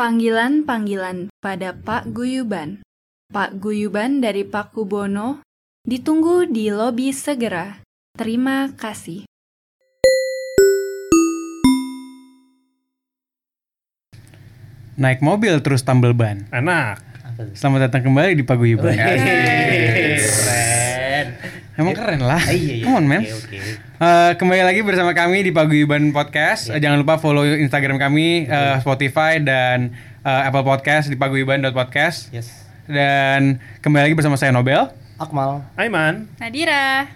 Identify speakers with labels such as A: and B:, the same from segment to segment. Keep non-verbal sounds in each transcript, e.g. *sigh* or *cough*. A: Panggilan-panggilan pada Pak Guyuban. Pak Guyuban dari Pak Kubono ditunggu di lobi segera. Terima kasih.
B: Naik mobil terus tumble ban.
C: Enak.
B: Selamat datang kembali di
D: Oh,
B: Paguyuban.
D: iya. Keren.
B: Emang keren lah.
D: Ah, Iya, iya.
B: Come on, man.
D: Oke, oke.
B: Eh, kembali lagi bersama kami di Paguyuban Podcast. Eh,
D: Iya.
B: jangan lupa follow Instagram kami, eh, Spotify dan eh, Apple Podcast di paguyuban.podcast.
D: Yes.
B: Dan kembali lagi bersama saya Nobel.
D: Akmal.
C: Aiman.
E: Nadira,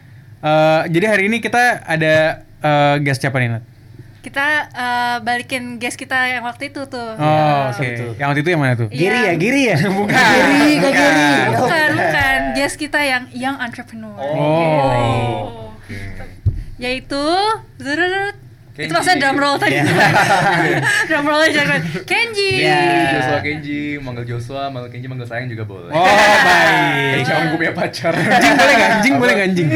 B: Eh, jadi hari ini kita ada eh, guest siapa nih, Nat?
E: kita eh, balikin guest kita yang waktu itu tuh.
D: Iya,
B: Oh, oke. Yang waktu itu yang mana tuh?
E: Iya.
D: Giri ya, Giri ya?
B: Bukan.
D: Giri, Kak Giri.
E: Bukan, bukan. Guest kita yang young entrepreneur.
B: Oh.
E: Yaitu zururut. Itu maksudnya drum roll tadi.
D: Iya.
E: *laughs* drum roll aja kan. Kenji.
F: Joshua Kenji, manggil Joshua, manggil Kenji, manggil sayang juga boleh.
B: Oh, baik.
F: Kenji aku punya pacar.
B: Anjing boleh nggak? Anjing boleh nggak anjing?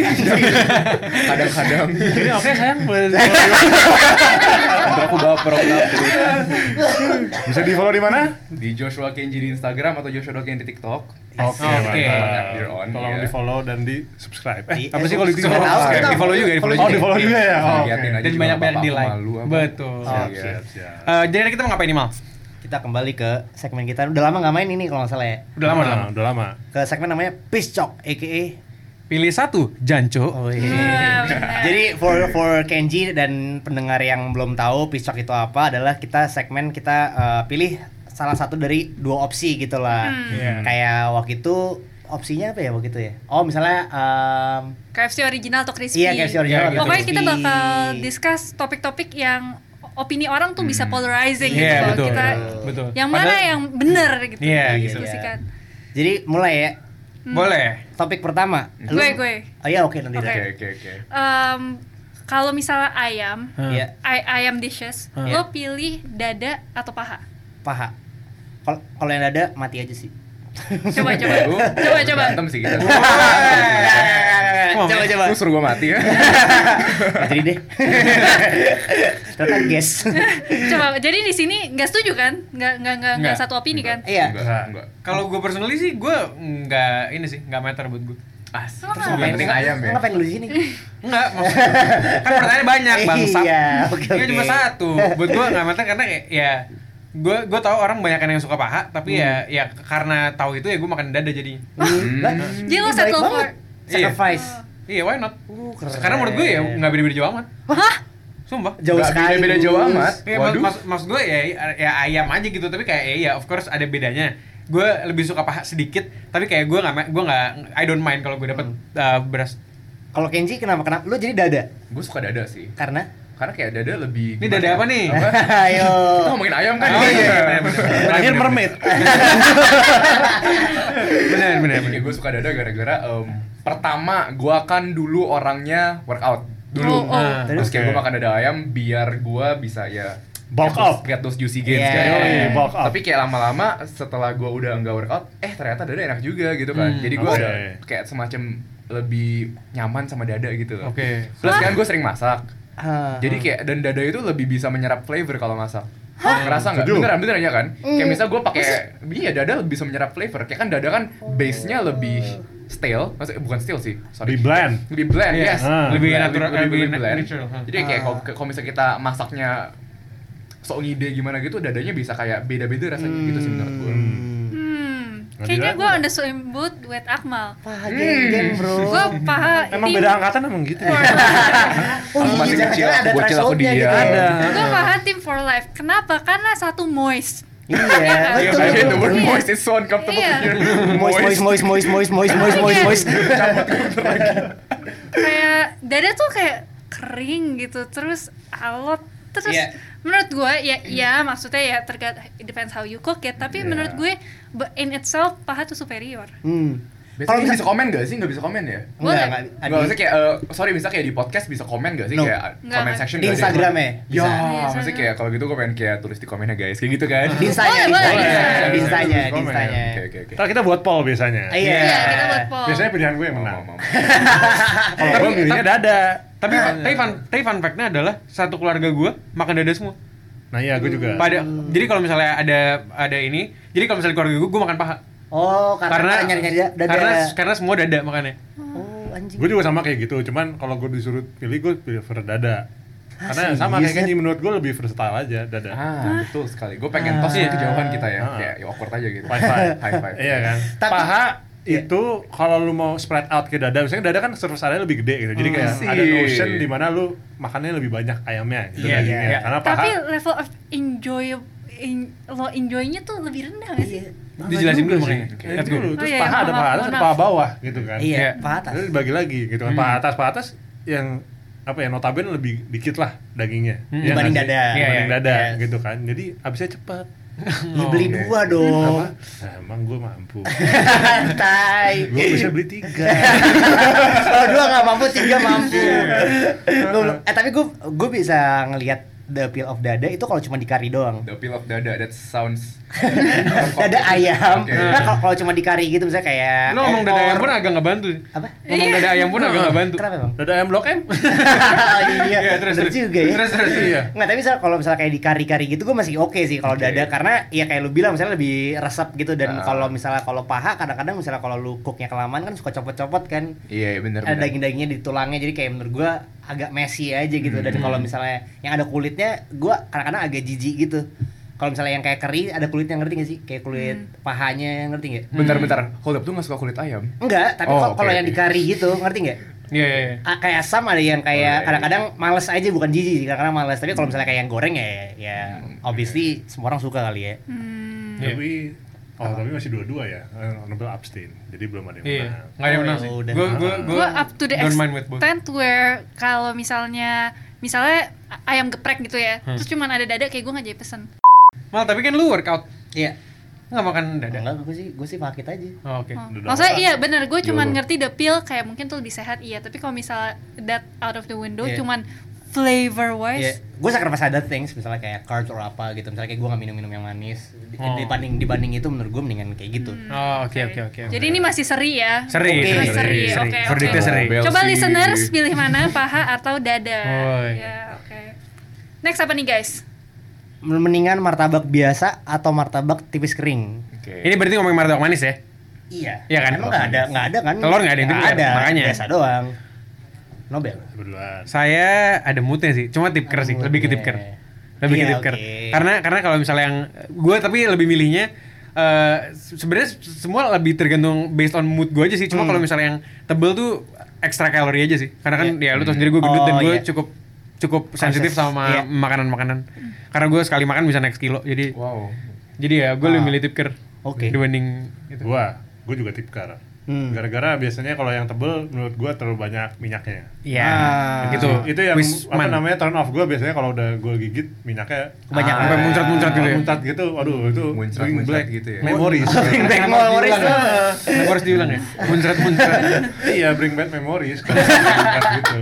F: Kadang-kadang.
B: Ini oke sayang boleh.
F: Ntar aku baper aku takut.
C: Bisa di follow di mana?
F: Di Joshua Kenji di Instagram atau Joshua Kenji di TikTok.
C: Oke.
B: Oke.
C: mantap.
F: You're on,
C: Tolong
F: ya.
C: di follow dan di subscribe. Eh,
B: Apa sih kalau itu?
D: Nggak tahu, kita
B: Di follow juga, di follow
C: oh di
B: juga. Iya,
C: follow juga ya. Oh, oke.
F: Liatin aja
B: Dan
F: juga
B: banyak-banyak
F: nggak
B: di
F: apa-apa,
B: like.
F: malu apa. Iya,
B: Betul.
D: Oh,
F: Siap,
C: Siap,
F: siap.
C: siap.
B: Eh, jadi hari kita mau ngapain nih mal?
D: Kita kembali ke segmen kita. Udah lama nggak main ini kalau nggak salah ya.
B: Udah lama, udah
C: Ah,
B: lama.
C: Udah lama.
D: Ke segmen namanya Piscok, aka
B: Pilih satu, Janco.
D: Oh,
E: Iya,
D: iya.
E: benar.
D: Jadi for for Kenji dan pendengar yang belum tahu piscok itu apa adalah kita segmen kita eh, pilih salah satu dari dua opsi gitu lah.
E: Hmm.
C: Iya.
D: Kayak waktu itu opsinya apa ya waktu itu ya? Oh misalnya em,
E: KFC original atau crispy.
D: iya KFC
B: Iya,
D: original. atau
E: Pokoknya kita
D: crispy.
E: bakal discuss topik-topik yang opini orang tuh bisa polarizing
B: Iya,
E: gitu.
B: betul.
E: Kita
B: Betul.
E: yang mana
B: Padahal-
E: yang bener gitu.
B: Iya,
E: kita
D: gitu.
E: diskusikan.
D: Jadi mulai ya
B: Boleh.
D: topik pertama. Lu-
E: Gue, gue.
D: Oh iya oke nanti.
E: Oke.
F: Oke,
D: dah.
F: oke, oke.
E: Em, kalau misalnya ayam,
D: Iya
E: ay- ayam dishes,
B: Hmm.
E: lo pilih dada atau
B: *laughs*
E: paha?
D: paha. Kalau kalau yang ada mati aja sih.
E: Coba coba.
F: Aduh,
E: coba coba.
F: Berantem sih kita.
B: Come on,
D: Iya kan? coba coba.
F: Lu suruh gua mati ya.
D: Jadi deh. Ternyata guess.
E: Coba. Jadi di sini nggak setuju kan? Nggak nggak nggak nggak
B: Nggak.
E: satu opini kan?
D: Iya.
F: Enggak, enggak.
B: Kalau gue personally sih, gue nggak ini sih, nggak matter buat gue.
F: Ah,
E: Terus
F: yang
D: Ngapain-
F: penting ayam ya.
D: Ngapain lu di sini?
B: Enggak, maksudnya kan pertanyaannya banyak bangsat.
D: Iya, oke,
B: Ini
D: oke.
B: cuma satu. Buat gue nggak matter karena ya- ya gue gue tahu orang banyak yang suka paha, tapi ya ya karena tahu itu ya gue makan dada jadi.
F: Hmm.
D: Lah,
E: Jadi lo
D: ini baik
E: settle for
D: banget. Sacrifice.
B: Iya, why not?
D: Uh, keren.
B: Karena menurut gue ya nggak beda-beda jauh amat.
E: Hah?
B: Sumpah.
D: Jauh
F: Nggak
D: sekali.
F: beda-beda
D: Gus.
F: jauh amat.
B: Ya, mas,
F: Waduh.
B: mas, maksud gue ya, ya ayam aja gitu tapi kayak ya, ya of course ada bedanya gue lebih suka paha sedikit tapi kayak gue nggak ma- gue nggak I don't mind kalau gue dapet uh, beras
D: Kalau Kenji kenapa kenapa? Lu jadi dada
F: Gue suka dada sih.
D: karena
F: Karena kayak dada lebih ya?
B: Ini dada apa nih? *laughs*
D: *laughs* ayo.
F: Kita ngomongin ayam kan?
B: Oh, iya, iya, bener, bener.
C: Terakhir mermaid.
B: benar benar
F: Jadi gue suka dada gara-gara em, pertama gua kan dulu orangnya workout
E: Oh,
F: dulu.
E: oh.
B: Nah,
F: Terus
C: Oke.
F: kayak gue makan dada ayam biar gua bisa ya
C: Bulk
F: lihat those-
C: up.
F: lihat those juicy gains
D: Yeah.
F: kan.
C: Yoi, bulk up.
F: Tapi kayak lama-lama setelah gua udah nggak workout, eh ternyata dada enak juga gitu kan.
B: Hmm,
F: Jadi gua
C: oke.
F: ada kayak semacam lebih nyaman sama dada gitu loh.
B: oke
F: Plus kan gue sering masak.
D: Ah.
F: Jadi kayak dan dada itu lebih bisa menyerap flavor kalau masak. Ngerasa nggak?
C: Setuju.
F: Beneran beneran ya kan? Kayak misal gue pakai iya dada lebih bisa menyerap flavor. Kayak kan dada kan base-nya lebih stale, maksudnya bukan stale sih, sorry.
C: Di blend.
F: Lebih blend,
B: Iya.
F: yes.
C: Ah.
B: Lebih natural- lebih natural, huh.
F: Jadi kayak kalau- kalau misalnya kita masaknya sok ngide gimana gitu, dadanya bisa kayak beda-beda rasanya gitu sih menurut gue.
E: Hmm.
C: Nadira?
E: Kayaknya gue on the same boat with Akmal.
D: Paha geng-geng, bro.
E: Gue paha.
C: Emang
E: tim-
C: beda
E: *laughs*
C: angkatan emang gitu.
E: Iya.
D: Oh,
F: Aku
D: iya,
F: masih
D: jangan-jangan
F: kecil, aku
D: ada
F: bocil, aku
D: threshold-nya
F: dia.
D: gitu.
C: Ada.
E: Gue paha tim for life. Kenapa? Karena satu moist.
D: Iya,
F: Iya,
D: betul.
F: saya the word
E: Iya.
F: moist is so uncomfortable
E: Iya.
F: here.
D: Moist, moist, moist, moist, moist, moist, moist, moist, moist.
E: kayak dada tuh kayak kering gitu terus alot terus
D: Iya.
E: menurut gue ya ya maksudnya ya tergantung it depends how you cook ya tapi
D: Iya.
E: menurut gue but in itself paha tuh superior
D: Hmm. Kalau
F: Biasanya bisa
D: bisa
F: komen gak sih? Gak bisa komen ya?
D: enggak,
E: Boleh.
D: enggak,
F: Nggak,
D: ada
F: maksudnya kayak, eh, sorry bisa kayak di podcast bisa komen gak sih?
D: No.
F: Kayak
E: Nggak,
F: comment
E: Mas. Iya,
F: section
D: di
F: nggak sih?
D: Instagram ya.
F: Ya,
D: Bisa.
F: maksudnya kayak kalau gitu gue pengen kayak tulis di komennya guys, kayak gitu kan?
D: Di Instanya,
E: Boleh,
D: di
E: boleh.
D: Instanya, di
F: Bisa,
D: Instanya,
F: bisa
D: di
F: komen.
D: Instanya.
F: Oke, oke, oke.
C: *laughs* Ntar kita buat poll biasanya.
D: Iya.
E: Iya, kita buat poll
C: Biasanya pilihan gue yang
F: Mau,
C: menang.
F: mau, mau.
D: Eh,
C: Kalau gue milihnya dada.
B: tapi tapi fun, tapi fun fact-nya adalah satu keluarga gue makan dada semua
C: Nah iya, gue juga.
B: Pada
D: Hmm.
B: jadi kalau misalnya ada ada ini, jadi kalau misalnya keluarga gue gue makan paha.
D: Oh, karena, nyari nyari dada.
B: karena karena semua dada makanya.
D: oh, anjing.
C: Gue juga sama kayak gitu, cuman kalau gue disuruh pilih, gue pilih prefer dada. Karena sama kayak
D: serius,
C: Kenji, menurut gue lebih versatile aja dada.
F: Ah, betul sekali. Gue pengen tos ya kejauhan kita ya.
C: Ah.
F: Kayak ya awkward aja gitu.
C: High five.
F: *laughs* High five.
C: Iya kan?
D: Tapi-
C: Paha
B: Iya.
C: itu kalau lu mau spread out ke dada, misalnya dada kan surface area lebih gede gitu.
B: Hmm.
C: Jadi kayak
F: Asik.
C: ada notion di mana lu makannya lebih banyak ayamnya gitu
B: Iya,
C: dagingnya.
B: iya.
C: Karena paha
E: Tapi level of enjoy in, lo enjoy-nya tuh lebih
D: Iya
E: rendah gak sih?
B: Dijelasin dulu makanya.
C: Eh,
B: Lihat
C: dulu,
D: gitu.
B: gue.
C: terus
E: Oh, iya,
C: paha ada
E: iya,
C: paha
E: mohon maaf,
C: atas, ada
E: mohon
C: paha
E: maaf.
C: bawah gitu kan.
D: Iya,
B: Iya.
D: paha atas.
C: Terus dibagi lagi gitu
B: Hmm.
C: kan. Paha atas, paha atas yang apa ya notabene lebih dikit lah dagingnya.
B: Hmm.
C: Iya
D: Dibanding
C: nggak sih?
D: dada.
B: Iya,
C: Dibanding
B: iya.
C: dada
D: Yes.
C: gitu kan. Jadi habisnya cepat.
D: Ya, beli
F: Oke.
D: dua dong.
B: Oh.
C: Apa? Nah, emang gue
B: *laughs*
C: mampu.
D: Santai.
C: gue bisa beli tiga.
D: *laughs*
C: Iya.
D: Kalau dua nggak mampu, tiga mampu. Gua belum- eh tapi gue gue bisa ngelihat the peel of dada itu kalau cuma di kari doang.
F: The peel of dada that sounds.
D: Dada ayam.
F: Oke.
D: Nah kalau kalau cuma di kari gitu misalnya kayak.
B: Lo ngomong dada
D: ekor.
B: ayam pun agak nggak bantu.
D: Apa?
B: Ngomong dada ayam
E: Iya.
B: pun agak nggak bantu.
D: Kenapa bang?
C: Dada ayam blok M. *laughs*
D: Oh, iya,
B: *laughs* Iya, terus
D: bener
B: terus.
D: juga ya.
B: Terus terus.
C: Iya.
D: Nggak, tapi misal kalau misalnya kayak di kari-kari gitu gue masih oke sih kalau
F: Oke.
D: dada karena ya kayak lu bilang misalnya lebih resep gitu dan
B: Nah.
F: Ah.
D: kalau misalnya kalau paha kadang-kadang misalnya kalau lu cooknya kelamaan kan suka copot-copot kan
F: Iya, iya, bener.
D: ada
F: bener.
D: daging-dagingnya di tulangnya jadi kayak menurut gue agak messy aja gitu dan
F: Hmm.
D: kalau misalnya yang ada kulitnya gue kadang-kadang agak jijik gitu kalau misalnya yang kayak keri ada kulitnya ngerti gak sih kayak kulit pahanya ngerti nggak
F: Bentar, bentar. Hold up tuh nggak suka kulit ayam.
D: enggak tapi
F: Oh,
D: kok kalau
F: oke,
D: yang di
F: oke.
D: kari gitu ngerti nggak
B: Iya iya. iya.
D: Ah, kayak asam ada yang
F: Oh, iya,
D: kayak
F: iya. Hmm.
D: kadang-kadang males aja bukan jijik sih kadang-kadang males tapi kalau misalnya kayak yang goreng ya ya
F: iya.
D: obviously semua orang suka kali ya
B: Iya.
C: Tapi Oh, tapi masih dua-dua ya. Eh, Honorable abstain. Jadi belum ada yang
B: Iya.
C: menang.
B: Nggak ada yang menang sih.
D: Oh, udah.
B: Gue gue
E: Gue up to the
B: don't mind with both.
E: extent where kalau misalnya misalnya ayam geprek gitu ya,
B: Hmm.
E: terus cuman ada dada kayak gue nggak jadi pesen.
B: Mal tapi kan lu workout
D: iya
B: nggak makan dada.
D: enggak gue sih gue sih pakai aja
B: Oh, Oke.
E: Oh.
C: Dada
E: Maksudnya
C: apa?
E: iya bener, gue cuman
C: Dada.
E: ngerti the peel kayak mungkin tuh lebih sehat iya, tapi kalau misalnya that out of the window
D: Iya.
E: cuman flavor
D: Iya,
E: wise,
D: gue sacrifice other things, misalnya kayak carbs or apa gitu. Misalnya kayak gue gak minum-minum yang manis. Di-
B: Oh.
D: Dibanding dibanding itu menurut gue mendingan kayak gitu.
B: Oh oke oke oke.
E: jadi ini masih seri ya.
B: seri
D: Oke.
B: seri
E: Seri,
B: seri seri.
E: oke, oke.
B: Verdictnya seri.
F: Bel
E: Coba
F: sih.
E: listeners pilih mana paha atau dada.
B: Oh, iya.
E: Ya, oke. Next apa nih guys?
D: Mendingan martabak biasa atau martabak tipis kering.
F: Oke.
B: Ini berarti ngomongin martabak manis ya?
D: Iya.
B: Iya kan?
D: Emang nggak ada, nggak ada kan?
B: Telur nggak ada, itu
D: Nggak ada.
B: biar- makanya.
D: Biasa doang. Nobel.
C: Berduaan.
B: Saya ada moodnya sih, cuma tipker sih, lebih ke
D: Oke.
B: tipker. Lebih
D: Ah, Iya,
B: ke tipker.
D: oke.
B: Karena karena kalau misalnya yang gue tapi lebih milihnya eh, se- sebenarnya se- semua lebih tergantung based on mood gue aja sih.
D: Hmm.
B: Cuma kalau misalnya yang tebel tuh ekstra kalori aja sih. Karena kan ya lu tau sendiri gue gendut
D: Oh,
B: dan gue
D: iya.
B: cukup cukup sensitif
D: Iya.
B: sama makanan-makanan. Karena gue sekali makan bisa naik kilo. Jadi
F: Wow. *laughs*
B: jadi ya gue lebih
D: Ah.
B: milih tipker
D: Oke.
B: dibanding itu.
D: Gitu.
C: Gua, gua juga tipkar.
D: Hmm.
C: Gara-gara biasanya kalau yang tebel menurut gua terlalu banyak minyaknya.
B: Iya.
D: Ah.
B: Gitu.
C: Itu yang apa
B: Wisman.
C: namanya turn off gua biasanya kalau udah gua gigit minyaknya
D: Kebanyakan.
B: Sampai muncrat-muncrat gitu ya.
C: muntat gitu. Aduh, itu
F: Muncrat-muncrat
C: bring back
F: gitu ya.
C: Memories.
D: *laughs* Bring back
B: Kenapa
D: memories.
B: diulang ya? Kenapa harus diulang ya? Muncrat-muncrat.
C: iya, bring back memories. Kalau muncrat gitu.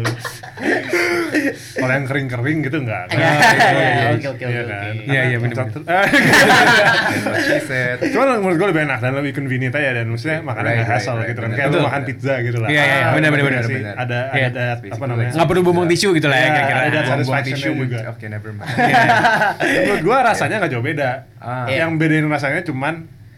C: Kalau yang kering-kering gitu enggak.
D: Iya,
C: Iya,
D: iya,
C: iya,
D: oke, oke,
C: iya
B: Iya,
C: kan?
D: oke, oke.
B: iya,
C: Karena
B: bener-bener.
C: muncrat-
F: That's
C: *laughs*
F: what she said.
C: Cuman menurut gue lebih enak dan lebih convenient aja dan maksudnya makannya
F: Right,
C: nggak
F: right,
C: hassle
F: right,
C: gitu kan
F: bener.
C: kayak lu
F: Betul.
C: makan pizza gitu lah.
B: Iya, iya,
C: Ah,
B: benar, benar,
C: ngerti
B: benar,
C: nggak sih?
F: benar.
C: Ada
B: Iya.
C: ada apa
F: Basically,
C: namanya?
B: Nggak perlu bumbung tisu gitu lah ya
C: Iya,
D: Nah,
B: kira-kira.
C: ada
F: Buang-buang
C: satisfaction-nya
F: tisu Iya,
C: juga.
F: with- Oke, never mind.
C: *laughs* Menurut gue rasanya nggak jauh beda.
F: Ah.
C: Yang bedain rasanya cuman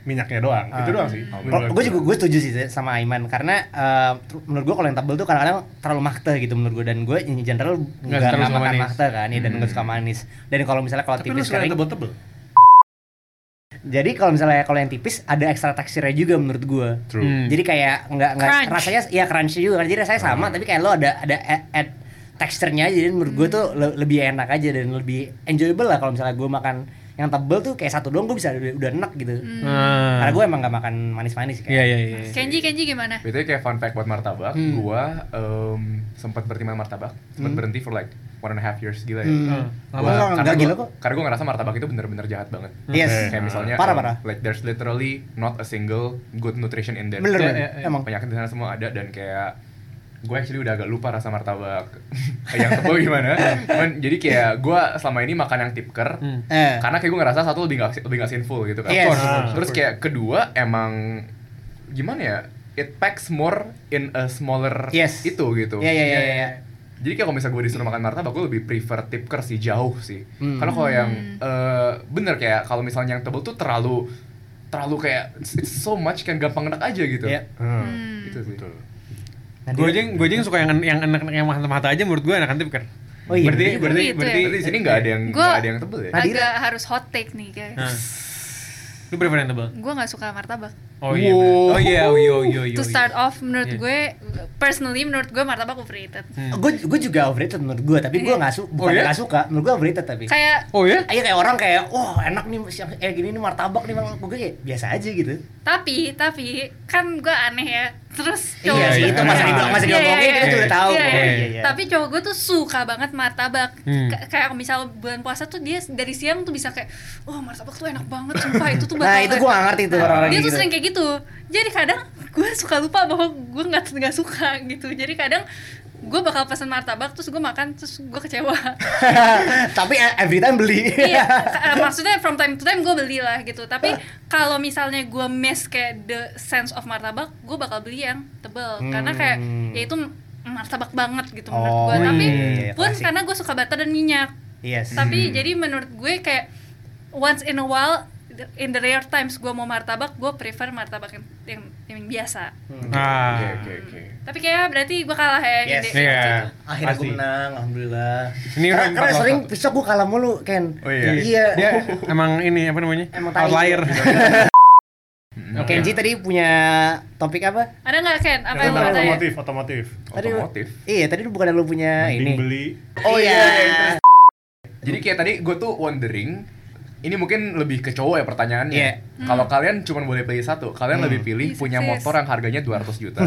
C: minyaknya doang. Itu doang sih. menurut
D: gue juga gue setuju sih sama Aiman karena eh, ter- menurut gue kalau yang tebel tuh kadang-kadang terlalu makte gitu menurut gue dan gue in general nggak
B: terlalu
D: nggak
B: suka
D: makan
B: manis.
D: makte kan ya dan nggak suka manis dan kalau misalnya kalau
C: Tapi lu
D: tipis
C: suka
D: kering
C: yang tebel-tebel.
D: jadi kalau misalnya kalau yang tipis ada ekstra teksturnya juga menurut gue
C: True.
B: Hmm.
D: jadi kayak nggak nggak
E: Crunch.
D: rasanya ya crunchy juga kan jadi rasanya sama
B: Hmm.
D: tapi kayak lo ada ada add, add teksturnya aja jadi menurut
E: Hmm.
D: gue tuh le- lebih enak aja dan lebih enjoyable lah kalau misalnya gue makan yang tebel tuh kayak satu doang gue bisa udah, udah enak gitu
E: Hmm.
B: Ah.
D: karena gue emang nggak makan manis-manis sih
B: Iya,
D: kayak
B: iya, iya.
E: Kenji Kenji gimana?
F: Itu kayak fun fact buat martabak,
D: Hmm.
F: gua em, sempat berhenti makan martabak, sempat berhenti for like one and a half years gila ya.
D: Hmm.
B: Lama.
D: Gua nggak- nggak
F: gua-
D: gila kok
F: Karena gue ngerasa martabak itu bener-bener jahat banget.
B: iya.
D: Yes.
F: Kayak misalnya
D: Parah,
B: eh,
F: um,
D: parah.
F: like there's literally not a single good nutrition in there.
D: bener
B: Iya,
D: bener
B: iya, iya.
D: emang
F: Penyakit di sana semua ada dan kayak gue actually udah agak lupa rasa martabak *laughs* yang tebal
D: *laughs*
F: gimana. Cuman jadi kayak gue selama ini makan yang tipker
B: Hmm.
D: eh
F: karena kayak gue ngerasa satu lebih gak, lebih gak sinful gitu kan.
D: Yes. Ah, Of course,
C: of course,
F: Terus
C: of course.
F: kayak kedua emang gimana ya? It packs more in a smaller
D: Yes. Iya,
F: itu gitu.
D: ya ya ya ya
F: Jadi kayak kalau misalnya gue disuruh makan martabak, gue lebih prefer tipker sih jauh sih.
D: Hmm.
F: Karena kalau yang eh, bener kayak kalau misalnya yang tebel tuh terlalu terlalu kayak it's- it's so much kan gampang enak aja gitu.
D: Iya.
C: Hmm.
F: Itu sih.
C: Betul.
B: Gue aja gue aja yang suka yang yang enak yang mahal-mahal aja menurut gue enak kan kan.
D: Oh iya,
B: Berarti berarti
E: bener. Gitu ya.
B: berarti
F: Berarti di sini nggak ada yang
E: Gua-
F: nggak ada yang tebel ya.
D: Nadira.
E: Agak harus hot take nih guys.
B: Nah. Lu prefer yang tebel?
E: Gue nggak suka martabak.
B: Oh iya.
F: Wow.
B: bener. Oh iya, oh iya, oh iya, oh iya.
E: To start off menurut
B: Iya. Hmm.
E: gue personally menurut gue martabak overrated.
D: Gue gue juga overrated menurut gue, tapi gue nggak suka, bukan
B: iya?
D: nggak suka, menurut gue overrated tapi.
E: Kayak
B: Oh ya?
D: Iya kayak orang kayak, wah enak nih siang kayak gini nih martabak nih Bang." gue kayak biasa aja gitu.
E: tapi tapi kan gue aneh ya terus
D: iya,
B: iya, iya.
D: itu masa dibilang masa
E: Iya,
D: diomongin
E: iya,
D: kita
E: iya.
D: juga udah tahu.
E: Iya,
D: Oh,
E: iya.
D: iya, iya.
E: Tapi cowok gue tuh suka banget martabak.
B: Hmm.
E: Ka- kayak misal bulan puasa tuh dia dari siang tuh bisa kayak, wah martabak tuh enak banget, sumpah itu tuh bakal.
D: Nah, itu gue gak ngerti tuh orang-orang
E: Iya. dia
D: gitu.
E: tuh sering kayak gitu. Jadi kadang gue suka lupa bahwa gue nggak nggak suka gitu. Jadi kadang gue bakal pesan martabak terus gue makan terus gue kecewa
D: *laughs* Tapi eh, every time beli. *laughs*
E: iya ka- maksudnya from time to time gue beli lah gitu tapi kalau misalnya gue miss kayak the sense of martabak gue bakal beli yang tebel karena kayak
D: Hmm.
E: ya itu martabak banget gitu
D: Oh,
E: menurut gue tapi
D: iya, iya, iya,
E: pun
D: klasik. Hmm.
E: karena gue suka butter dan minyak
D: Yes.
E: tapi jadi menurut gue kayak once in a while in the rare times gue mau martabak gue prefer martabak yang yang, yang biasa
D: Hmm.
F: Oke
B: Nah.
F: oke oke.
E: tapi kayak "Ah, berarti gue kalah ya
D: Yes.
E: Ide.
B: Iya.
D: Akhirnya gue
B: Pasti.
D: menang, alhamdulillah.
B: Ini
D: karena,
B: orang
D: karena
B: bakal-
D: sering besok gue kalah mulu, Ken.
F: Oh, iya.
B: Dia emang ini apa namanya?
D: Emang tai.
B: Outlier.
F: Mm, oke.
D: Kenji tadi punya topik apa?
E: ada nggak Ken apa yang
C: Tentang
E: lo tanya
C: otomotif, otomotif.
D: Tadi lu-
F: Otomotif.
D: Iya, tadi lu bukan lu punya
C: Mending
D: ini.
C: beli.
D: Oh iya.
F: Jadi kayak tadi gue tuh wondering, ini mungkin lebih ke cowok ya pertanyaannya.
D: Iya.
F: Kalau kalian cuma boleh pilih satu, kalian lebih pilih
E: Ih,
F: punya
E: sukses.
F: motor yang harganya 200 juta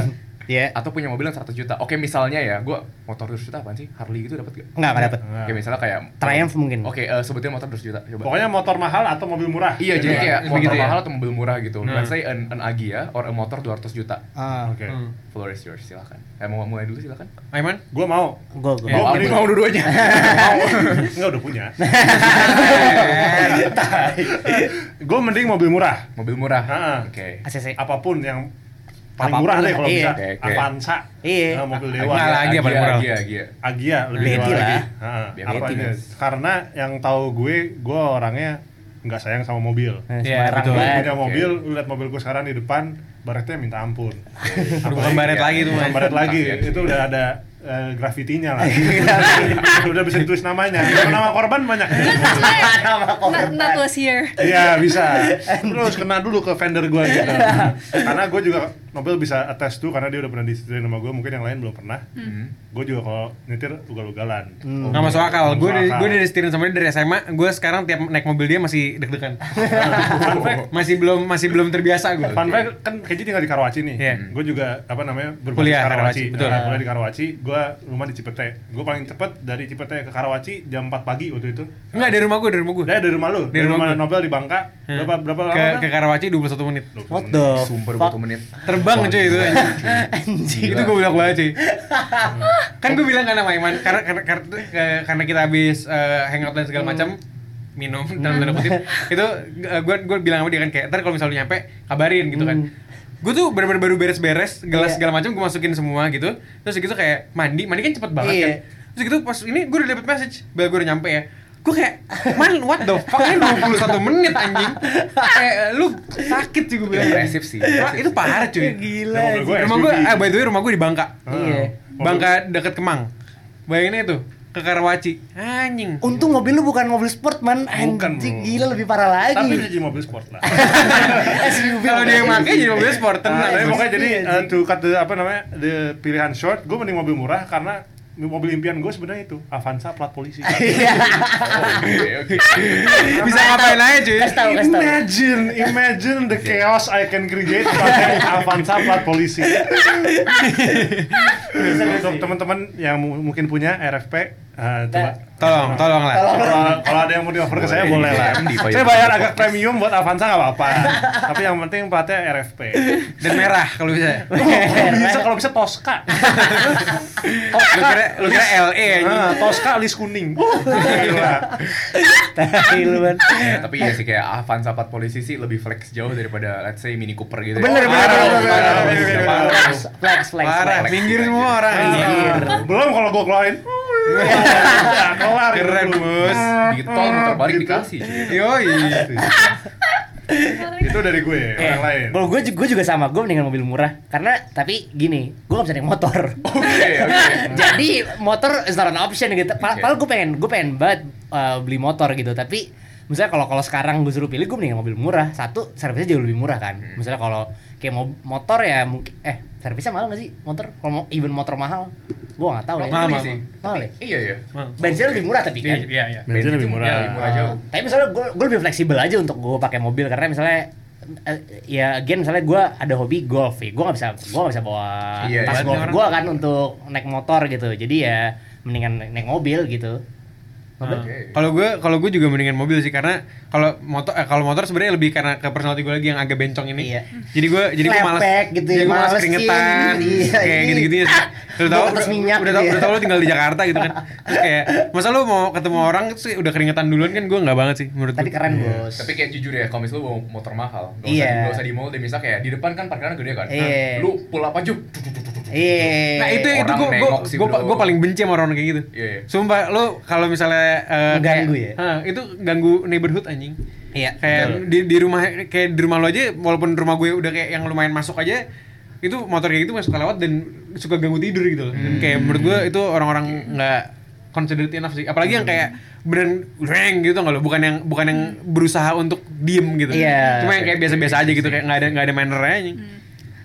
D: Iya.
F: atau punya mobil yang 100 juta. Oke, misalnya ya, gue motor 200 juta apaan sih? Harley gitu dapat gak?
D: Enggak enggak dapet
C: Nah.
F: Oke, misalnya kayak
D: Triumph mungkin.
F: Oke, eh, sebutin motor 200 juta coba.
C: Pokoknya motor mahal atau mobil murah.
F: Iya, jadi kayak
B: Begitu
F: motor
B: ya?
F: mahal atau mobil murah gitu.
B: Hmm.
F: Let's say an, an Agya or a motor 200 juta.
D: Ah,
B: *laughs*
C: Oke.
B: Hmm.
F: Floor is yours, silakan. Eh, mau mulai dulu silakan.
B: Aiman?
C: Gua mau.
D: gue
B: Oh,
D: gue.
C: Mau
F: Mau
C: beli.
F: Albert, mau dua-duanya.
C: *laughs* Enggak udah punya. Gue mending mobil murah.
F: mobil murah.
C: Ah.
F: Oke.
D: ACC.
B: Iya,
C: Apapun yang paling
D: Apapun
C: murah deh
D: lah,
C: kalau
D: iya.
C: bisa.
F: Oke, oke.
C: Avanza.
D: Iya.
C: Nah, mobil dewa.
F: Agya,
B: Mahal lagi apa
F: Agya,
B: murah?
F: Agya, Agya.
C: Agia lebih
D: Beti
C: dewa lagi.
D: lah.
C: Heeh.
F: Beti
C: Apa
F: lah.
C: aja? Karena yang tahu gue, gue orangnya nggak sayang sama mobil.
B: Iya,
D: Eh, sembarang
B: betul.
C: Gue
D: banget.
C: punya mobil, lu lihat mobil gue sekarang di depan, baretnya minta ampun.
B: Bukan baret
F: Iya.
B: lagi tuh,
C: Bukan
B: Man.
C: baret lagi,
F: Kasian.
C: itu udah ada eh, grafitinya lah. udah bisa ditulis namanya. Nama korban banyak.
D: Nama
E: not,
D: korban.
E: not was here
C: Iya bisa. *laughs* Terus kena dulu ke vendor gue gitu. karena gue juga mobil bisa attest tuh karena dia udah pernah disetirin sama gue. Mungkin yang lain belum pernah.
F: Hmm.
C: Gue juga kalau nyetir ugal-ugalan.
B: Nggak masuk akal. Gue
C: Nggak masuk
B: gue
C: akal.
B: dari setirin sama dia dari SMA, gue sekarang tiap naik mobil dia masih deg-degan. *laughs* masih belum masih belum terbiasa gue.
C: Fun fact, kan Keji tinggal di Karawaci nih.
B: Iya.
C: Gue juga apa namanya berbasis
B: Kuliah Karawaci,
C: Karawaci.
B: betul.
C: Nah, kuliah di Karawaci. Gue rumah di Cipete. Gue paling cepet dari Cipete ke Karawaci jam 4 pagi waktu itu. Nah,
B: Enggak dari rumah gue, dari rumah gue.
C: Dari dari rumah lu,
B: Dari
C: dari,
B: rumah
C: rumah,
B: gua.
C: Nobel di Bangka. Berapa berapa lama?
B: ke,
C: Bang?
B: ke Karawaci 21 menit.
D: What the
F: Sumber
D: fuck?
F: butuh menit.
B: Terbang cuy itu.
D: Anjing.
B: itu gue bilang banget cuy. kan gue bilang kan sama Iman karena karena, karena, ke- karena kita habis eh, hangout dan
D: Hmm.
B: segala macam minum dalam tanda kutip itu gue gue bilang sama dia kan kayak ntar kalau misalnya lu nyampe kabarin gitu kan gue tuh bener-bener baru beres-beres gelas
D: Hmm. Iya.
B: segala macam gue masukin semua gitu terus gitu kayak mandi mandi kan cepet banget
D: Iya.
B: kan terus gitu pas ini gue udah dapet message bel gue udah nyampe ya gue kayak man what the fuck ini 21 menit anjing kayak lu sakit sih gue bilang
D: Iya,
F: Impresif sih,
B: Wah,
F: impresif
B: itu
F: sih.
B: parah cuy
C: Mobil
D: Gila. anjing.
C: gua
B: rumah gue
C: SUV.
B: eh by the way rumah gue di Bangka
C: Ah.
D: Iya.
C: Mobil-
B: Bangka deket Kemang bayangin itu ke Karawaci anjing
D: Untung mobil lu bukan mobil sport man.
C: Bukan,
D: Anjing
C: bro.
D: gila lebih parah *laughs*
C: Tapi
D: lagi. Eh,
C: jadi mobil sport lah. *laughs*
D: SUV.
B: kalau dia yang make jadi mobil sport tenang
C: Nah, tapi
B: Bos.
C: pokoknya jadi
D: Iya,
C: eh,
D: sih.
C: to cut the, apa namanya the pilihan short, gue mending mobil murah karena mobil impian gue sebenarnya itu Avanza plat polisi.
F: Oke, Oh, iya, oke.
B: bisa ngapain aja cuy
D: Kasih tahu, kasih tahu.
C: imagine, imagine the chaos I can create pakai Avanza plat polisi. Jadi, Untuk teman-teman yang mu- mungkin punya RFP, eh, coba
B: Tolong, tolong lah.
C: Kalau- kalau ada yang mau dioper ke saya boleh
F: Boleh,
C: lah.
F: di- di-
C: Saya bayar agak premium buat Avanza nggak apa-apa. Tapi yang penting platnya RFP.
B: Dan merah kalau bisa.
C: Kalau bisa kalau bisa Tosca.
B: Lu kira lu kira E, LE aja.
C: Ah, Tosca alis kuning. Uh, *laughs* gila.
D: Tapi lu kan.
F: Ya, tapi iya sih kayak Avanza 4 polisi sih lebih flex jauh daripada let's say Mini Cooper gitu. ya.
D: Bener, bener, bener,
F: Parah,
D: bener,
F: parah,
C: bener,
F: parah,
C: bener,
F: parah.
C: bener.
D: Flex, flex, flex.
B: Parah,
F: flex.
B: minggir semua orang.
D: Minggir.
C: Belum kalau gua *laughs* keluarin. Nggak kelar.
B: Keren, Bos.
F: Di tol muter balik
C: Gitu.
F: dikasih. cuy.
B: Yoi. gitu.
C: Itu dari gue,
F: Iya.
C: orang lain.
D: *laughs* Kalau gue juga, juga sama, gue mendingan mobil murah Karena, tapi gini, gue gak bisa naik motor
F: Oke, oke.
D: *laughs* jadi motor is not an option gitu. Pa-
F: Oke.
D: Padahal gue pengen gue pengen banget uh, beli motor gitu, tapi misalnya kalau kalau sekarang gue suruh pilih gue mendingan mobil murah. Satu servisnya jauh lebih murah kan.
B: Hmm.
D: Misalnya kalau kayak mau motor ya mungkin eh servisnya mahal gak sih motor? Kalau mau even motor mahal, gue nggak tahu ya.
B: Mahal, mahal.
F: sih.
D: Mahal ya?
F: Iya, iya.
D: Bensin lebih murah tapi kan.
B: Iya, iya.
C: Bensin lebih murah.
F: Iya, lebih murah jauh.
D: Tapi misalnya gue gue lebih fleksibel aja untuk gue pakai mobil karena misalnya eh, ya again misalnya gue ada hobi golf ya gue nggak bisa gue nggak bisa bawa
F: Iya,
D: tas
F: iya.
D: golf
B: Orang-
D: gue kan untuk naik motor gitu jadi ya mendingan naik- naik mobil gitu Mobil?
F: Oke.
B: Kalau gue kalau gue juga mendingan mobil sih karena kalau motor eh, kalau motor sebenarnya lebih karena ke personality gue lagi yang agak bencong ini.
D: Iya.
B: Jadi gue jadi gue malas
D: Lepek gitu ya,
B: jadi gue malas
D: malesin.
B: keringetan
D: Iya,
B: kayak
D: ini.
B: gitu-gitu ya. sih. Udah
D: Bau
B: tahu
D: atas
B: udah,
D: minyak
B: udah
D: gitu
B: tahu
D: ya.
B: udah tahu lu tinggal di Jakarta gitu kan. Terus kayak masa lu mau ketemu orang terus udah keringetan duluan kan gue nggak banget sih menurut
D: tapi
B: gue.
D: keren bos
F: Iya. Tapi kayak jujur ya, kalau misalnya lu bawa motor mahal, gak
D: Iya.
F: usah, di- gak usah di mall deh, misalnya kayak di depan kan parkiran gede kan.
D: Iya.
F: Lu pull up aja.
D: iya
B: Nah itu itu
F: Orang
B: gue gue
F: nengok sih,
B: gue
F: bro.
B: gue paling benci sama orang kayak gitu.
F: Iya, iya.
B: Sumpah lu kalau misalnya eh,
D: Mengganggu
B: kayak-
D: ya?
B: Hah, itu ganggu neighborhood anjing.
D: iya
B: Kayak di, di rumah kayak di rumah lo aja walaupun rumah gue udah kayak yang lumayan masuk aja itu motor kayak gitu masuk lewat dan suka ganggu tidur gitu loh. Dan kayak menurut gue itu orang-orang nggak considerate enough sih. Apalagi yang kayak brand reng gitu nggak lo bukan yang bukan yang berusaha untuk diem gitu.
D: Iya.
B: Cuma yang kayak biasa-biasa aja gitu kayak nggak ada nggak ada mannernya anjing.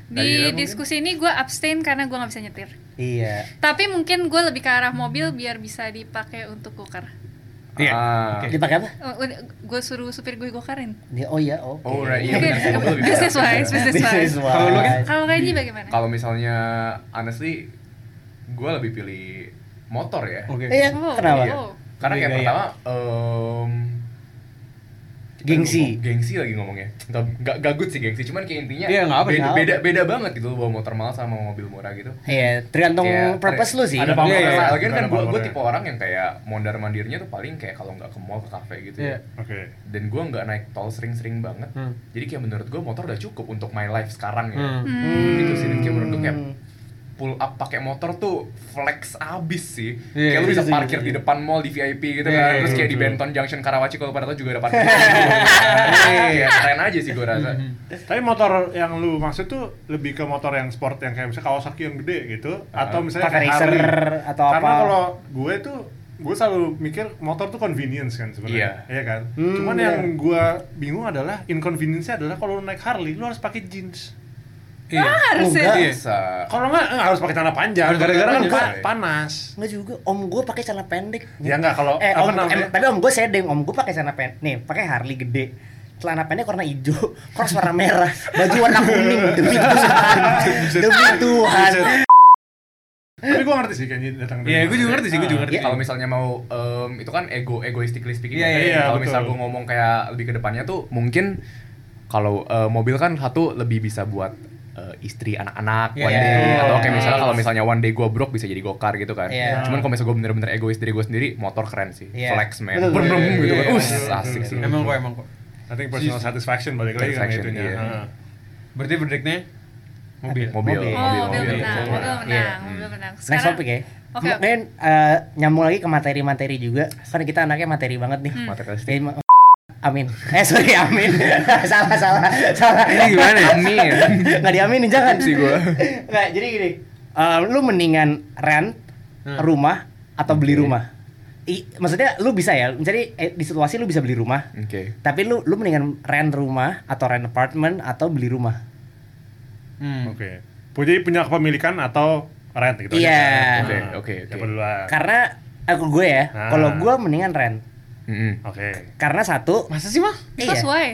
F: Nah,
E: Di
F: iya, mungkin.
E: diskusi ini gue abstain karena gue nggak bisa nyetir.
D: iya
E: Tapi mungkin gue lebih ke arah mobil biar bisa dipakai untuk gokar.
B: Iya.
F: Ah.
B: Oke.
D: dipakai apa
E: Gue suruh supir gue gokarin.
D: Dia- oh iya oke
F: Oh, right, iya.
E: Oke,
F: benar sih, mobil lebih
E: business
F: murah.
E: wise, business
D: This
E: wise.
D: is why.
B: Kalau lu kan?
E: Kalau Randy bagaimana?
F: Kalau misalnya honestly gue lebih pilih motor ya.
B: Oke.
D: iya
E: Oh,
D: kenapa
E: iya.
F: Karena kayak
B: Gaya.
F: pertama em, kita
D: Gengsi.
F: ngomong- gengsi lagi ngomongnya. Nggak, nggak, nggak good sih gengsi, cuman kayak intinya
B: Iya, nggak apa,
F: beda,
D: nggak apa.
F: beda, beda banget gitu bawa motor mahal sama mobil murah gitu.
D: Iya, tergantung
F: Kayak-
D: purpose lu sih.
C: Ada
F: Iya,
C: pamornya
F: iya,
C: lah.
F: Lagian
C: Nggak
F: kan
C: ada
F: gue gue
C: pamornya.
F: tipe orang yang kayak mondar mandirnya tuh paling kayak kalau nggak ke mall ke kafe gitu
B: Iya.
F: ya.
C: Oke.
F: Dan gue nggak naik tol sering-sering banget.
B: Hmm.
F: Jadi kayak menurut gue motor udah cukup untuk my life sekarang ya.
B: Hmm.
D: Hmm.
F: Gitu sih, dan kayak menurut gue kayak pull up pakai motor tuh flex abis sih.
B: Iya,
F: kayak lu
B: iya,
F: bisa
D: iya,
F: parkir
D: iya.
F: di depan mall di VIP gitu
B: Iya,
F: kan.
B: iya,
F: Terus kayak
C: iya,
F: di
C: iya.
F: Benton Junction Karawaci kalau pada tahu juga ada parkir. Iya, keren aja sih gua rasa.
C: Tapi motor yang lu maksud tuh lebih ke motor yang sport yang kayak misalnya Kawasaki yang gede gitu atau misalnya
D: Ah, Pakai
C: kayak
D: racer
C: Harley.
D: atau
C: Karena
D: apa.
C: kalau gue tuh gue selalu mikir motor tuh convenience kan sebenarnya.
F: Iya.
C: Iya kan?
D: Hmm,
C: Cuman
D: iya.
C: yang gue bingung adalah inconvenience-nya adalah kalau lu naik Harley lu harus pakai jeans.
B: Iya.
E: Harusnya.
B: Iya.
F: Bisa.
C: Kalau nggak nggak harus pakai celana panjang.
B: Harus gara-gara
C: kan
B: panjang.
C: pa- panas.
D: Enggak juga, om gue pakai celana pendek.
C: Ya nggak kalau
D: Eh,
C: apa
D: om,
C: namanya?
D: em- tapi om gue sedeng, om gue pakai celana pendek. Nih, pakai Harley gede. Celana pendek warna hijau, cross warna merah, baju warna
C: *laughs*
D: kuning. Demi Tuhan. Demi Tuhan.
C: Tapi gue ngerti sih kayaknya datang dari.
B: Iya, gue juga ngerti sih, gue juga ngerti.
F: Iya, kalau misalnya mau em, itu kan ego egoistically speaking.
B: Iya,
F: ya.
B: iya,
C: iya,
F: kalau
C: betul.
F: misal gua ngomong kayak lebih ke depannya tuh mungkin kalau eh, mobil kan satu lebih bisa buat eh, istri anak-anak
B: Iya,
F: one
B: iya,
F: day
B: iya.
F: atau kayak misalnya kalau misalnya one day gua broke bisa jadi gokar gitu kan.
D: Iya.
F: Cuman kalau misalnya gua bener-bener egois diri gua sendiri, motor keren sih.
D: Iya.
F: Flex man.
D: Betul,
F: Brum, brum,
B: betul,
F: gitu kan.
B: iya,
F: Us,
B: iya,
C: betul,
F: asik
C: betul.
F: sih.
B: Emang kok emang kok.
C: I think personal satisfaction balik lagi kan
F: Satisfaction,
C: itunya.
F: iya.
C: Heeh.
B: Berarti verdictnya mobil.
F: Mobil,
D: Mobil.
E: Oh,
F: mobil,
E: mobil
F: mobil.
E: menang, mobil
F: Mobil.
D: Iya.
E: menang, mobil menang.
D: Next
E: Sekarang,
D: topic ya.
E: Oke, oke.
D: Mungkin eh, nyambung lagi ke materi-materi juga. Karena kita anaknya materi banget nih.
E: Hmm.
F: Materialistik.
D: Jadi, ma- Amin. Eh sorry, amin. *laughs* salah, salah, salah.
F: *laughs* Ini gimana ya? Amin.
D: *laughs* Nggak diaminin, jangan.
F: Sih gua.
D: *laughs* Nggak, jadi gini. Eh, lu mendingan rent
F: Hmm.
D: rumah atau beli rumah? I, maksudnya lu bisa ya. Jadi eh, di situasi lu bisa beli rumah,
F: Oke.
D: tapi lu lu mendingan rent rumah atau rent apartment atau beli rumah.
B: Hmm.
C: Oke. Punya punya kepemilikan atau rent gitu
D: Iya.
C: aja.
F: Oke,
C: Nah,
F: oke, oke.
C: Coba duluan.
F: Ah.
D: Karena aku gue ya,
C: Ah.
D: kalau gue mendingan rent.
F: Mm-mm.
C: Oke.
D: Karena satu,
B: Masa sih, Mah?
D: iya.
E: Because why?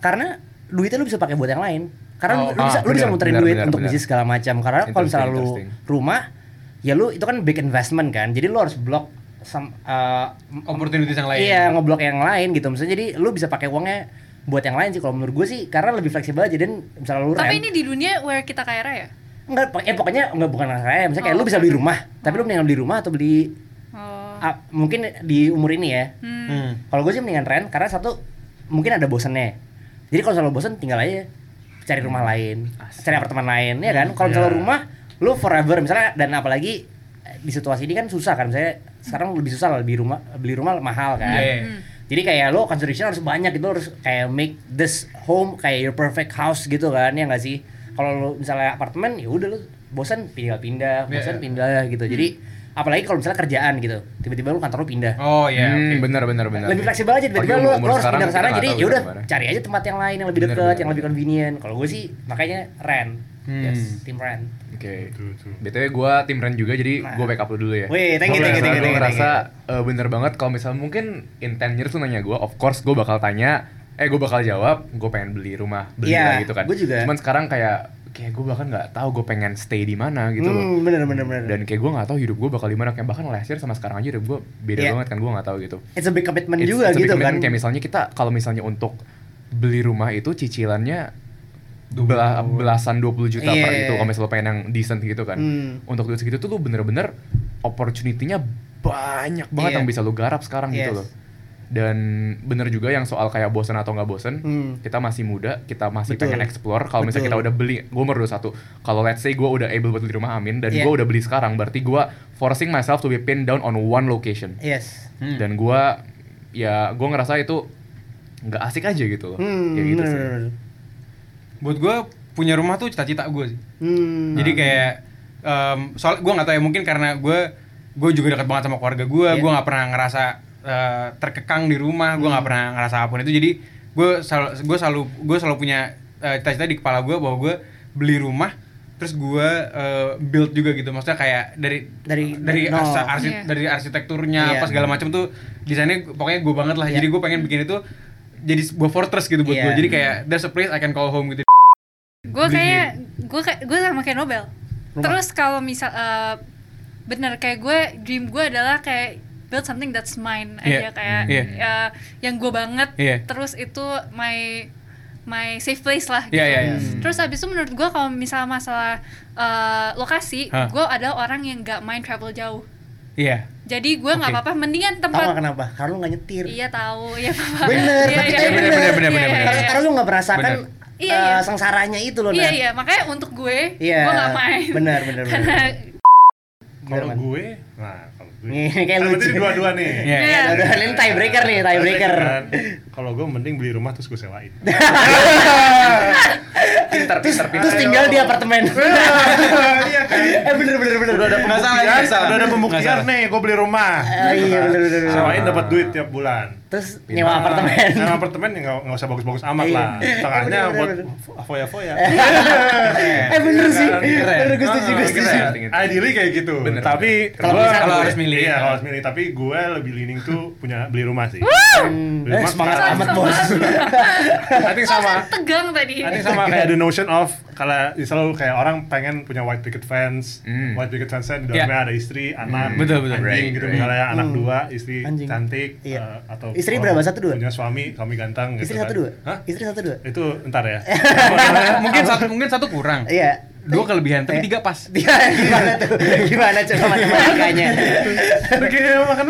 D: karena duitnya lu bisa pakai buat yang lain. Karena lu,
F: Oh,
D: lu bisa
F: ah,
D: lu bisa
F: benar,
D: muterin
F: benar,
D: duit
F: benar,
D: untuk
F: benar.
D: bisnis segala macam. Karena kalau
F: Interesting,
D: misalnya lu
F: interesting.
D: rumah, ya lu itu kan big investment kan. Jadi lu harus blok some, uh, m-
B: Opportunities yang lain.
D: Iya, ngeblok yang lain gitu. Misalnya jadi lu bisa pakai uangnya buat yang lain sih kalau menurut gue sih karena lebih fleksibel aja dan misalnya lu
E: Tapi
D: rem-
E: ini di dunia where kita kaya raya.
D: Enggak, pok- eh pokoknya enggak bukan saya. Misalnya kayak
E: Oh,
D: lu bisa beli rumah, tapi lu mendingan beli rumah atau beli
E: Oh.
D: ah, mungkin di umur ini ya.
E: Hmm.
B: Hmm.
D: Kalau gue sih mendingan rent karena satu mungkin ada bosennya. Jadi kalau selalu bosen tinggal aja cari rumah
B: Hmm.
D: lain, cari apartemen lain ya kan. Kalau misalnya
B: Iya.
F: Ya.
D: rumah lu forever misalnya dan apalagi eh, di situasi ini kan susah kan misalnya sekarang lebih susah lah beli rumah beli rumah mahal kan.
B: Iya.
D: Jadi kayak lo consideration harus banyak gitu lo harus kayak make this home kayak your perfect house gitu kan ya nggak sih? Kalau lo misalnya apartemen ya udah lo bosan tinggal
B: Iya,
D: pindah,
B: iya.
D: bosan
B: Hmm.
D: pindah gitu. Jadi apalagi kalau misalnya kerjaan gitu, tiba-tiba lo kantor lo pindah.
B: Oh iya,
F: Hmm,
B: oke.
F: bener bener bener.
D: Lebih fleksibel aja tiba-tiba
F: Apalagi
D: lo,
F: umur
D: lo harus
F: sekarang
D: pindah ke sana
F: kita nggak
D: jadi
F: tahu
D: ya udah
F: gimana.
D: cari aja tempat yang lain yang lebih
F: Bener,
D: dekat,
F: bener,
D: yang lebih
F: bener.
D: convenient. Kalau gue sih makanya rent.
B: Hmm.
D: Yes, tim rent.
F: Oke.
C: Tuh, tuh.
F: Hmm. BTW gue tim Ren juga jadi gue backup lu dulu ya.
D: Nah. Wih, thank you,
F: Gua
D: thank you, thank you, thank you,
F: ngerasa- gua
D: thank you.
F: ngerasa eh, bener banget kalau misalnya mungkin in 10 years tuh nanya gue, of course gue bakal tanya, eh gue bakal jawab, gue pengen beli rumah, beli
D: Iya,
F: lah gitu kan.
D: gua juga.
F: Cuman sekarang kayak kayak gue bahkan nggak tahu gue pengen stay di mana gitu loh.
D: Hmm, bener bener bener.
F: Dan kayak gue nggak tahu hidup gue bakal di mana kayak bahkan last year sama sekarang aja hidup gue beda
D: Iya.
F: banget kan gue nggak tahu gitu.
D: it's a big commitment
F: It's-
D: juga
F: it's a big
D: gitu
F: commitment.
D: kan.
F: Kayak misalnya kita kalau misalnya untuk beli rumah itu cicilannya bela- belasan 20 juta per
D: Iya.
F: itu kalau misalnya lo pengen yang decent gitu kan.
D: Hmm.
F: Untuk duit segitu tuh lu bener-bener opportunity-nya banyak banget
D: Iya.
F: yang bisa lu garap sekarang gitu
D: Yes.
F: loh. Dan bener juga yang soal kayak bosen atau nggak bosen,
D: Hmm.
F: kita masih muda, kita masih
D: Betul.
F: pengen explore. Kalau misalnya
D: Betul.
F: kita udah beli, gue umur 21. Kalau let's say gue udah able buat beli rumah, amin. Dan
D: Iya.
F: gue udah beli sekarang, berarti gue forcing myself to be pinned down on one location
D: Yes.
B: Hmm.
F: dan gua ya gua ngerasa itu nggak asik aja gitu loh
D: Hmm,
F: ya gitu
D: bener,
F: sih
D: bener, bener.
B: buat gue punya rumah tuh cita-cita gue sih.
D: Hmm.
B: Jadi kayak em soal gue nggak tahu ya mungkin karena gue gue juga dekat banget sama keluarga gue,
D: Iya.
B: gue nggak pernah ngerasa eh, terkekang di rumah, gue
D: Hmm.
B: nggak pernah ngerasa apapun itu. Jadi gue selalu gue selalu gue selalu punya eh, cita-cita di kepala gue bahwa gue beli rumah, terus gue eh, build juga gitu. Maksudnya kayak dari
D: Dari-
B: dari
D: nol.
B: asa- arsi-
E: Iya.
B: dari arsitekturnya
D: Iya.
B: apa segala macam tuh desainnya pokoknya gue banget lah.
D: Iya.
B: Jadi gue pengen bikin itu jadi sebuah fortress gitu buat
D: Iya.
B: gue. Jadi kayak there's a place I can call home gitu.
E: Gue
B: Beli-
E: kayak gue kayak gue sama kayak Nobel.
D: Rumah.
E: Terus kalau misal eh, bener kayak gue dream gue adalah kayak build something that's mine
B: Iya.
E: aja kayak
B: Iya.
E: eh, yang gue banget.
B: Iya.
E: Terus itu my my safe place lah. gitu.
B: Iya, iya, iya.
E: Terus habis itu menurut gue kalau misalnya masalah eh, lokasi,
B: Hah.
E: gue adalah orang yang gak main travel jauh.
B: Iya.
E: Jadi gue nggak
B: Oke.
E: apa-apa, mendingan
D: Tahu nggak
E: tempat
D: kenapa? Karena lu nggak nyetir.
E: Iya tahu, iya Pak.
D: Bener,
E: Iya,
D: tapi
E: iya,
D: tapi
E: iya,
D: bener.
E: iya,
B: Bener, bener,
E: iya,
B: bener.
E: iya,
D: Karena, karena lu nggak merasakan
E: Bener. Iya, iya.
D: eh, sengsaranya itu loh.
E: Iya
D: Nat.
E: iya, makanya untuk gue,
D: Iya.
E: gue nggak main.
D: Benar, benar, benar.
E: Karena
D: Bener,
C: Kalau
D: Iya, Man.
C: gue, nah kalau gue.
D: Nih, kayak
C: Kan
D: lucu.
C: berarti dua-dua nih.
B: Iya.
E: Iya.
D: Aduh, ini tiebreaker nih, tiebreaker.
C: Kan, Kalau gue mending beli rumah terus gue sewain.
F: pinter pinter pinter
D: Terus tinggal di apartemen.
C: Iya kan.
D: eh bener bener bener.
C: Udah ada
B: Nggak salah,
C: pembuktian,
B: nggak salah.
C: udah ada
B: Nggak
C: pembuktian
B: salah.
C: nih, gue beli rumah.
D: Ah, iya bener bener. bener.
C: Sewain dapat duit tiap bulan.
D: Terus nyewa apartemen.
C: Nah, apartemen ya nggak nggak usah bagus-bagus amat
D: Iya.
C: lah. Tengahnya
D: Bener,
C: buat
D: bener,
C: foya-foya.
D: eh bener sih.
C: Keren.
D: Bener gue setuju gue
C: Ah,
D: setuju.
F: keren.
C: Ideally kayak gitu.
F: Bener.
C: Tapi
D: Kalau
C: gua-
D: bisa,
B: kalau harus milih.
C: Iya, kalau harus milih. Tapi gue lebih leaning tuh punya beli rumah sih.
D: Hmm,
C: Beli
D: eh,
C: rumah
D: semangat
C: sekarang.
D: amat bos.
C: I think sama.
E: tegang tadi.
C: I think sama kayak the notion of kalau selalu kayak orang pengen punya white picket fence,
F: Hmm.
C: white picket fence di dalamnya ada istri, anak,
B: Betul, betul.
C: anjing
F: Right,
C: gitu
F: right.
C: misalnya anak
D: Hmm.
C: dua, istri
D: Anjing.
C: cantik
D: Iya.
C: eh, atau
D: Istri
C: orang
D: berapa? Satu, dua?
C: Punya suami, suami ganteng gitu.
D: Istri
C: kan.
D: satu dua.
C: Hah?
D: Istri satu dua.
C: Itu ntar ya.
D: *laughs*
B: gitu. *laughs* mungkin satu mungkin satu kurang.
D: Iya.
B: Dua kelebihan, tapi
D: *laughs*
B: tiga pas.
D: Dia gimana tuh? Gimana coba matematikanya?
C: *laughs* Kayak makan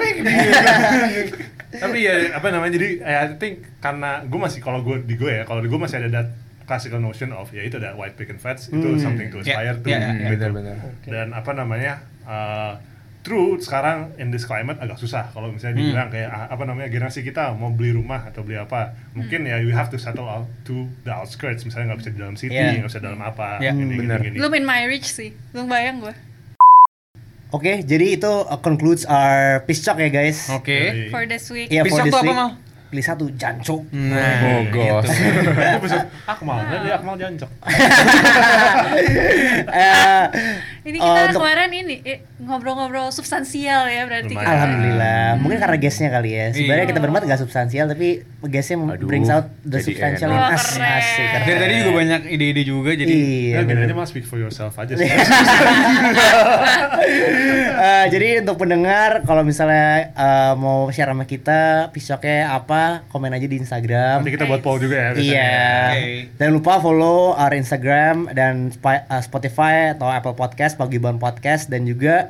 C: Tapi ya apa namanya jadi eh, I think karena gue masih kalau gue di gue ya, kalau di gue masih ada that classical notion of ya itu ada white picket fence
D: Hmm.
C: itu something to aspire
B: Yeah,
C: to.
B: yeah,
F: Hmm,
B: yeah.
F: bener bener
C: dan apa namanya uh, true sekarang in this climate agak susah kalau misalnya
B: Hmm.
C: dibilang kayak ah, apa namanya generasi kita mau beli rumah atau beli apa mungkin ya you have to settle out to the outskirts misalnya nggak bisa di dalam city
D: Yeah.
C: nggak bisa di dalam apa
B: Yeah,
C: gini, gini,
F: bener.
C: gini.
E: Belum in my reach sih, belum bayang gue.
D: Oke, jadi itu uh, concludes our pitch talk ya guys.
B: Oke.
C: Jadi,
E: For this week.
D: Iya,
C: *laughs*
D: for
B: Pisok
D: this
B: tuh apa
D: week.
B: mal?
D: pilih satu jancok
F: Eh,
B: Nah,
F: Bogos.
C: Gue pesen Akmal, dan dia Akmal jancok
D: *laughs* Eh, eh,
E: Ini kita
D: untuk-
E: kemarin ini eh, ngobrol-ngobrol substansial ya berarti
C: Lumayan.
E: kita.
D: Alhamdulillah,
B: Hmm.
D: mungkin karena guestnya kali ya. Sebenarnya
B: Iya.
D: kita berempat gak substansial, tapi guestnya
F: Aduh,
D: brings out the
F: jadi
D: substantial in
E: enak. Wah,
D: us.
E: keren.
D: keren.
B: Dari tadi juga banyak ide-ide juga jadi
D: Iya,
C: Ya gini
D: bener. Iya.
C: aja mas, speak for yourself aja
D: *laughs*
C: sih
D: Eh, jadi untuk pendengar, kalau misalnya eh, mau share sama kita, pisoknya apa, komen aja di Instagram.
C: Nanti kita buat poll juga ya biasanya.
D: Iya.
B: Oke.
D: Jangan lupa follow our Instagram dan Sp- uh, Spotify atau Apple Podcast, Pagibon Podcast dan juga
F: *laughs*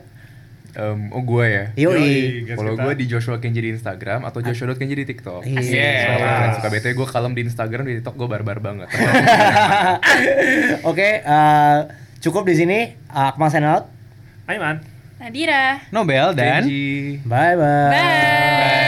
F: Em, oh gue ya.
D: Iya, Yoi.
C: guys,
F: Kalau
C: kita-
F: gue di Joshua Kenji di Instagram atau Joshua Kenji di TikTok.
D: Ah. Iya.
F: Soalnya
B: Yes.
F: kalian Suka bete gue kalem di Instagram di TikTok gue barbar *laughs* banget.
D: Oke, eh, cukup di sini. Uh, Akmal sign out.
C: Aiman
E: Nadira.
B: Nobel dan
F: Kenji.
D: Bye bye.
E: Nah, Bye.